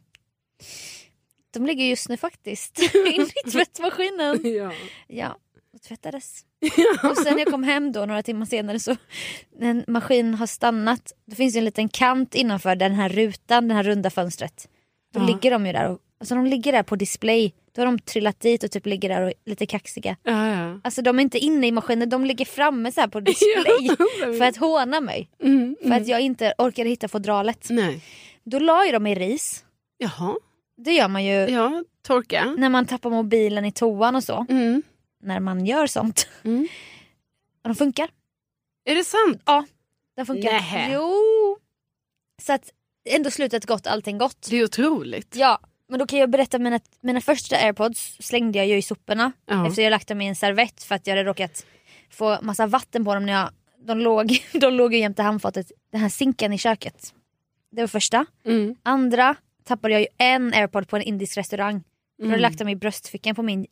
S2: De ligger just nu faktiskt in i tvättmaskinen.
S1: Ja.
S2: Ja, och tvättades. Och sen när jag kom hem då några timmar senare så när en maskin har stannat, då finns det en liten kant innanför den här rutan, det här runda fönstret. Då
S1: Ja.
S2: ligger de ju där och alltså de ligger där på display. Då har de trillat dit och typ ligger där och är lite kaxiga.
S1: Ja, ja.
S2: Alltså de är inte inne i maskinen, de ligger framme så här på display. för att håna mig.
S1: Mm,
S2: För att jag inte orkade hitta fodralet.
S1: Nej.
S2: Då la ju de i ris.
S1: Jaha,
S2: Det gör man ju
S1: ja, torka.
S2: när man tappar mobilen i toan och så.
S1: Mm.
S2: När man gör sånt.
S1: Mm.
S2: Och de funkar.
S1: Är det sant?
S2: De funkar.
S1: Nähä.
S2: Jo. Så att ändå slutet gott, allting gott.
S1: Det är otroligt.
S2: Ja, men då kan jag berätta mina, mina första airpods slängde jag ju i soporna
S1: Ja.
S2: efter jag lagt dem i en servett för att jag hade råkat få massa vatten på dem när jag, de låg, de låg ju jämte handfatet, den här sinken i köket. Det var första.
S1: Mm.
S2: Andra tappade jag ju en airpod på en indisk restaurang. Då hade jag
S1: Mm.
S2: lagt dem i bröstfickan på min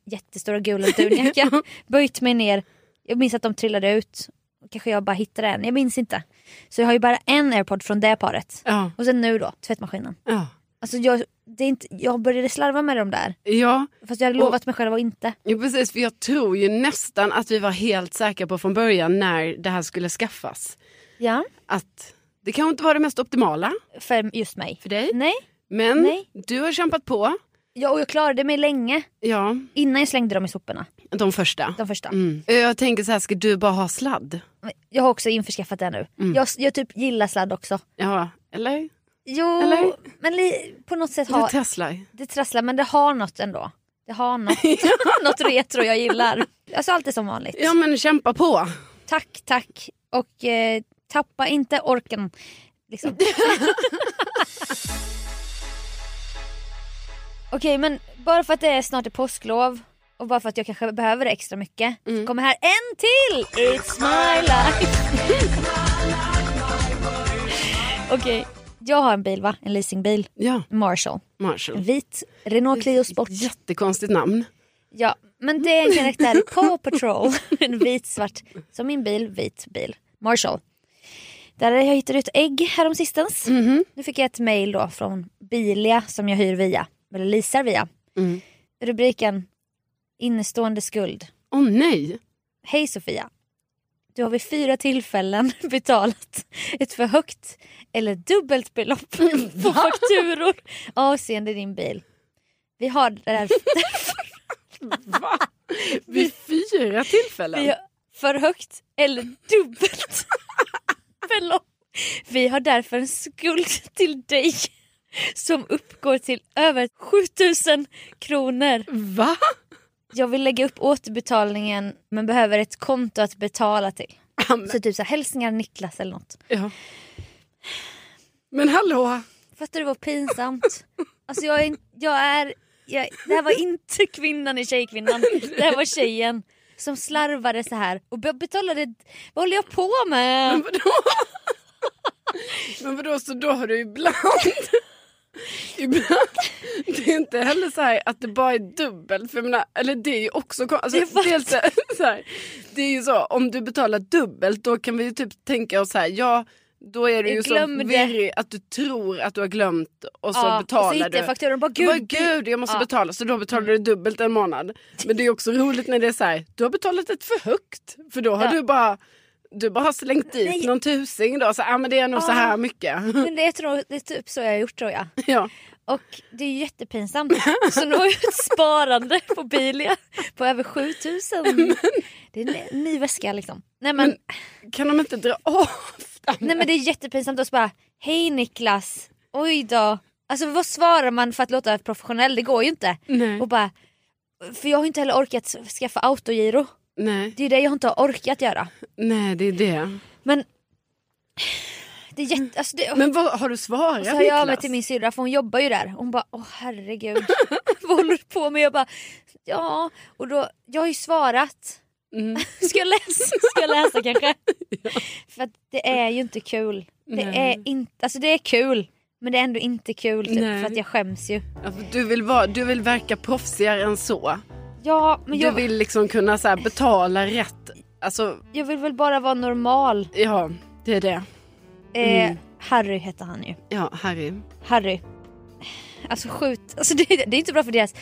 S2: jättestora gula dunjacka. Böjt mig ner. Jag minns att de trillade ut. Kanske jag bara hittade en, jag minns inte. Så jag har ju bara en airpod från det paret.
S1: Ja,
S2: Och sen nu då, tvättmaskinen.
S1: ja.
S2: Alltså jag, det är inte, jag började slarva med dem där.
S1: ja.
S2: Fast jag hade
S1: Och-
S2: lovat mig själv att inte.
S1: Jo, precis, för jag tror ju nästan att vi var helt säkra på från början när det här skulle skaffas.
S2: Ja.
S1: Att det kanske inte var det mest optimala
S2: För just mig.
S1: för dig.
S2: Nej.
S1: Men
S2: Mm. Nej.
S1: du har kämpat på.
S2: Ja, och jag klarade mig länge
S1: Ja,
S2: innan jag slängde dem i soporna.
S1: de första.
S2: De första.
S1: Mm. Jag tänker så här, ska du bara ha sladd?
S2: Jag har också införskaffat det nu.
S1: Mm.
S2: Jag, jag typ gillar sladd också.
S1: Ja, eller?
S2: Jo,
S1: Eller?
S2: men li, på något sätt
S1: Eller
S2: har
S1: Tesla?
S2: Det trasslar men det har något ändå. Det har något, något retro jag gillar. Alltså allt är som vanligt.
S1: Ja, men kämpa på.
S2: Tack, tack. Och eh, tappa inte orken. Liksom. Okej men bara för att det är snart är påsklov och bara för att jag kanske behöver det extra mycket så kommer här en till! It's my life! Okej, jag har en bil va? En leasingbil.
S1: Ja,
S2: Marshall. En
S1: Marshall.
S2: vit Renault Clio Sport.
S1: Jättekonstigt namn.
S2: Ja, men det är en karaktär i Paw Patrol. En vit, svart, som min bil, vit bil. Marshall. Där hade jag hittat ut ägg häromsistens.
S1: Mhm.
S2: Nu fick jag ett mail då från Bilia som jag hyr via, eller leasar via.
S1: Mm.
S2: Rubriken Innestående skuld.
S1: Åh nej.
S2: Hej Sofia. Du har vid fyra tillfällen betalat ett för högt eller dubbelt belopp på fakturor avseende din bil. Vi har därför
S1: Va? Vid fyra tillfällen?
S2: Vi har för högt eller dubbelt belopp. Vi har därför en skuld till dig som uppgår till över 7000 kronor.
S1: Va?
S2: Jag vill lägga upp återbetalningen men behöver ett konto att betala till.
S1: Amen.
S2: Så typ så här, hälsningar Niklas eller något.
S1: Ja. Men hallå.
S2: Fattar du vad pinsamt? Alltså jag är, jag är jag, det här var inte kvinnan i Tjejkvinnan. Det här var tjejen som slarvade så här och be- betalade, vad håller jag på med?
S1: Men vadå? Men vadå, så då har du ibland... Ibland. Det är inte heller så här att det bara är dubbelt. För jag menar, eller det är ju också kon- alltså,
S2: Jag fattar.
S1: dels så här- så här, Det är ju så, om du betalar dubbelt då kan vi ju typ tänka oss så här, ja då är du
S2: Jag
S1: ju så
S2: glömde.
S1: virrig att du tror att du har glömt och så
S2: Ja,
S1: betalar
S2: och så
S1: du.
S2: hittar jag fakturan och bara
S1: Gud,
S2: gud.
S1: bara, gud jag måste
S2: Ja. Mm.
S1: betala. Så då betalar du dubbelt en månad. Men det är också roligt när det är så här, du har betalat ett för högt. För då har
S2: Ja.
S1: du bara du bara har slängt dit
S2: Nej.
S1: någon tusing då. Så, ah, men det är nog så
S2: Ah.
S1: här mycket.
S2: Men det, är, tror- det är typ så jag har gjort tror jag.
S1: ja.
S2: Och det är ju jättepinsamt. Så nu har jag ett sparande på Bilia på över 7000. Det är en ny- ny väska liksom. Nej men,
S1: Kan de inte dra av den?
S2: nej men det är jättepinsamt att bara hej Niklas, oj då. Alltså vad svarar man för att låta professionell? Det går ju inte.
S1: Nej.
S2: Och bara, för jag har ju inte heller orkat skaffa autogiro.
S1: nej,
S2: Det är ju det jag inte har orkat göra.
S1: nej det är det.
S2: Men det är jätte... Alltså det,
S1: Men vad har du svarat
S2: Och så hör jag av mig
S1: Niklas?
S2: till min syrra för hon jobbar ju där. Hon bara åh herregud vad håller du på med? Jag bara ja och då, jag har ju svarat.
S1: Mm.
S2: Ska jag läsa, Ska jag läsa kanske? För att det är ju inte kul. Det
S1: Nej.
S2: är inte, alltså det är kul men det är ändå inte kul typ,
S1: Nej.
S2: för att jag skäms ju.
S1: Ja, för Alltså, Du vill, vara, du vill verka proffsigare än så.
S2: Ja men jag
S1: Du
S2: vill...
S1: vill liksom kunna så här, betala rätt. Alltså,
S2: jag vill väl bara vara normal.
S1: ja, det är det. Mm.
S2: Eh, Harry hette han ju.
S1: Ja, Harry.
S2: Harry. Alltså skjut. Alltså det, det är inte bra för deras...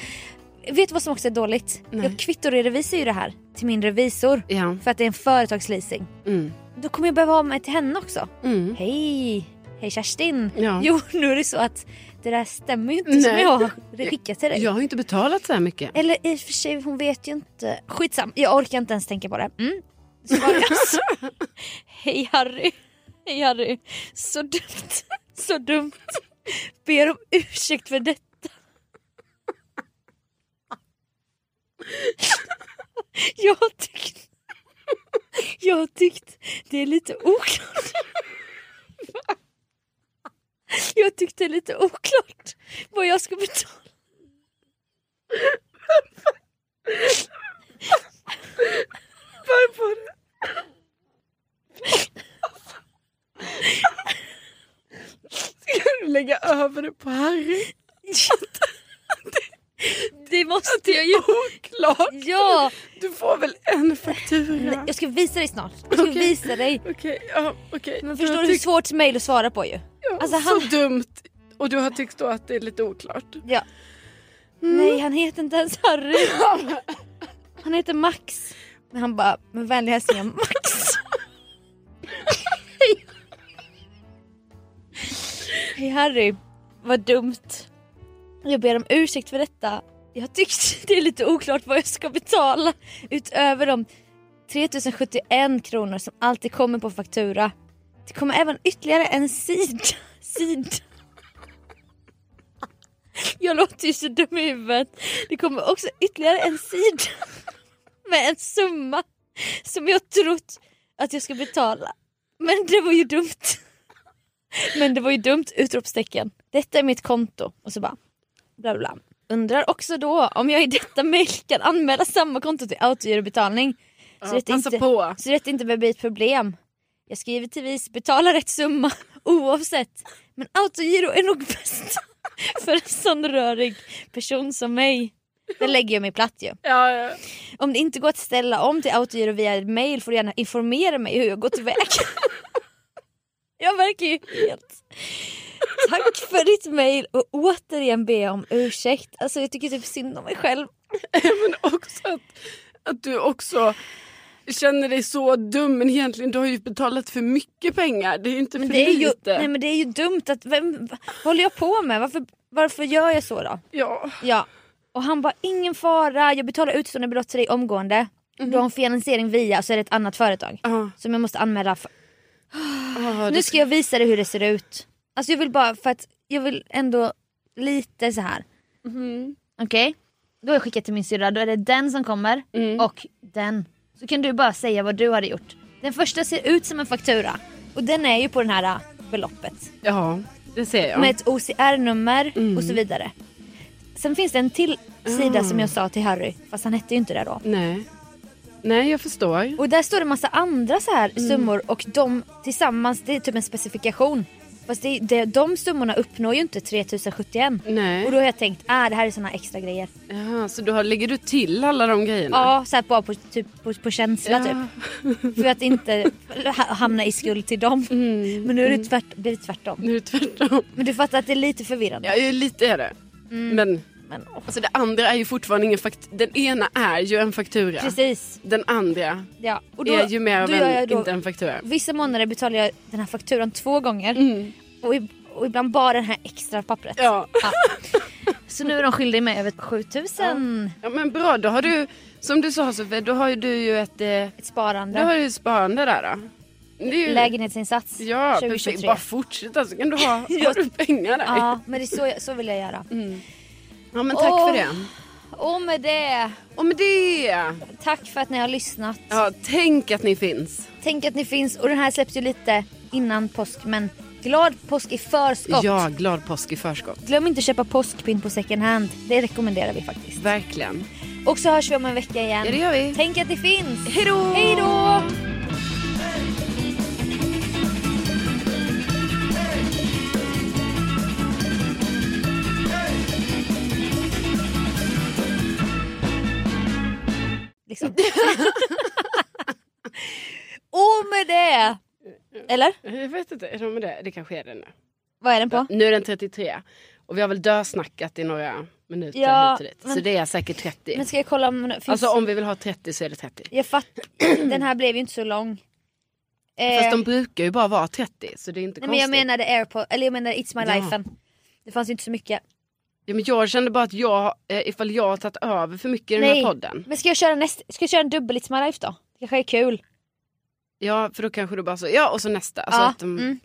S2: Vet du vad som också är dåligt?
S1: Nej.
S2: Jag kvittoredovisar ju det här till min revisor.
S1: Ja.
S2: För att det är en företagsleasing.
S1: Mm.
S2: Då kommer jag behöva ha mig till henne också.
S1: Mm.
S2: Hej! Hej Kerstin!
S1: Ja.
S2: Jo, nu är det så att det där stämmer ju inte som
S1: Nej.
S2: jag har skickat till dig.
S1: Jag har ju inte betalat så här mycket.
S2: Eller i och för sig, hon vet ju inte. Skitsam, jag orkar inte ens tänka på det. Mm. Svarar jag så- alltså. Hej Harry. Hej Harry. Så dumt. Så dumt. Ber om ursäkt för detta. Jag har tyckt... Jag har tyckt det är lite oklart. Jag tyckte det är lite oklart vad jag ska betala.
S1: Varför? Ska du lägga över det på Harry?
S2: Det måste jag ju.
S1: Oklart!
S2: Ja!
S1: Du får väl en faktura?
S2: Nej, Jag ska visa dig snart. Jag ska
S1: Okej.
S2: visa dig.
S1: Okej, ja okej.
S2: Men
S1: Du
S2: förstår
S1: har
S2: du hur
S1: tyckt-
S2: svårt mejl att svara på ju?
S1: ja,
S2: alltså,
S1: Så dumt. Och du har tyckt då att det är lite oklart.
S2: Ja. Nej han heter inte ens Harry. Han heter Max. Men han bara, med vänliga hälsningar Max. Hej Harry. Vad dumt. Jag ber om ursäkt för detta. Jag tyckte det är lite oklart vad jag ska betala utöver de 3071 kronor som alltid kommer på faktura. Det kommer även ytterligare en sida. sida. Jag låter ju så dum i huvudet. Det kommer också ytterligare en sida med en summa som jag trott att jag ska betala. Men det var ju dumt. Men det var ju dumt! Utropstecken. Detta är mitt konto. Och så bara bla bla. bla. Undrar också då om jag i detta mejl kan anmäla samma konto till autogirobetalning. Så
S1: Ja,
S2: det är
S1: passa
S2: inte-
S1: på.
S2: Så detta inte behöver bli ett problem. Jag ska givetvis betala rätt summa oavsett. Men autogiro är nog bäst för en sån rörig person som mig. Där lägger jag mig platt ju.
S1: Ja, ja.
S2: Om det inte går att ställa om till autogiro via mail får du gärna informera mig hur jag går tillväg. jag verkar ju helt... Tack för ditt mail och återigen ber jag om ursäkt. Alltså jag tycker typ synd om mig själv.
S1: Men också att, att du också känner dig så dum men egentligen du har ju betalat för mycket pengar. Det är ju inte
S2: Men
S1: för
S2: det är ju,
S1: lite.
S2: nej men det är ju dumt att... Vem, vad håller jag på med? Varför, varför gör jag så då?
S1: Ja.
S2: Ja. Och han bara ingen fara, jag betalar utstående belopp till dig omgående.
S1: Mhm.
S2: Du har en finansiering via, så är det ett annat företag.
S1: Ja,
S2: Som jag måste anmäla för.
S1: ja,
S2: Nu
S1: det,
S2: ska jag visa dig hur det ser ut. Alltså jag vill bara för att jag vill ändå lite så här.
S1: Mhm.
S2: Okej? Då har jag skickat till min syrra, då är det den som kommer
S1: Mm.
S2: och den. Så kan du bara säga vad du hade gjort. Den första ser ut som en faktura och den är ju på det här äh, beloppet.
S1: ja, det ser jag.
S2: Med ett OCR-nummer
S1: Mm.
S2: och så vidare. Sen finns det en till sida
S1: Ah.
S2: som jag sa till Harry, fast han hette ju inte det då.
S1: Nej. Nej, jag förstår.
S2: Och där står det massa andra så här
S1: Mm.
S2: summor och de tillsammans, det är typ en specifikation. Fast det, det, de summorna uppnår ju inte 3071. Och
S1: Nej.
S2: då har jag tänkt, ah, det här är såna extra grejer.
S1: Ja, så du har, lägger du till alla de grejerna?
S2: Ja, så här bara på, typ, på, på känsla typ.
S1: Ja.
S2: För att inte ha- hamna i skuld till dem.
S1: Mm.
S2: Men nu är det tvärt, blir det tvärtom.
S1: Nu är det tvärtom.
S2: Men du fattar att det är lite förvirrande.
S1: Ja, ju lite är det.
S2: Mm.
S1: Men
S2: Men, åh,
S1: alltså det andra är ju fortfarande ingen faktura. Den ena är ju en faktura.
S2: Precis.
S1: Den andra
S2: Ja. Och
S1: är ju mer av
S2: då gör
S1: en,
S2: jag då-
S1: inte en faktura.
S2: Vissa månader betalar jag den här fakturan två gånger.
S1: Mm.
S2: Och, ib- och ibland bara det här extra pappret.
S1: Ja.
S2: Ja. Så nu är de skyldiga mig över 7000.
S1: ja, men bra. Då har du, som du sa Sofie, då har ju du ju ett, eh,
S2: Ett
S1: då
S2: sparande.
S1: har du ett sparande där. Då. Det är ju,
S2: Lägenhetsinsats
S1: ja, precis.
S2: 2023.
S1: Bara fortsätta så kan du ha,
S2: Ja.
S1: har du pengar där. Ja,
S2: Ja, men det är så, jag- så vill jag göra.
S1: Mm. men tack
S2: Åh.
S1: för det.
S2: Och med det,
S1: Och med det.
S2: tack för att ni har lyssnat.
S1: Ja, tänk att ni finns.
S2: Tänk att ni finns och den här släpps ju lite innan påsk men glad påsk i förskott.
S1: Ja, glad påsk i förskott.
S2: Glöm inte att köpa påskpynt på second hand. Det rekommenderar vi faktiskt.
S1: Verkligen.
S2: Och så hörs vi om en vecka igen.
S1: Ja, det gör vi.
S2: Tänk att ni finns.
S1: Hej då!
S2: Hej då! Liksom. Och med det! Eller?
S1: Jag vet inte, är de med det? Det kanske är det nu.
S2: Vad är den på?
S1: Nu är den 33. Och vi har väl dösnackat i några minuter
S2: Ja,
S1: hit och dit. Så
S2: men-
S1: det är säkert 30.
S2: Men ska jag kolla om det finns...
S1: Alltså om vi vill ha 30 så är det 30.
S2: Jag fatt... Den här blev ju inte så lång. Eh,
S1: Fast de brukar ju bara vara 30 så det är inte
S2: nej, men
S1: konstigt.
S2: jag menade airpod, eller jag menade It's My
S1: Ja.
S2: Life. Det fanns ju inte så mycket.
S1: ja, men jag kände bara att jag, eh, ifall jag har tagit över för mycket i den här podden.
S2: Men ska jag köra, näst, ska jag köra en dubbel It's My Life då? Det kanske är kul.
S1: Ja för då kanske du bara så, ja och så nästa. Alltså
S2: ja.
S1: att de,
S2: mm.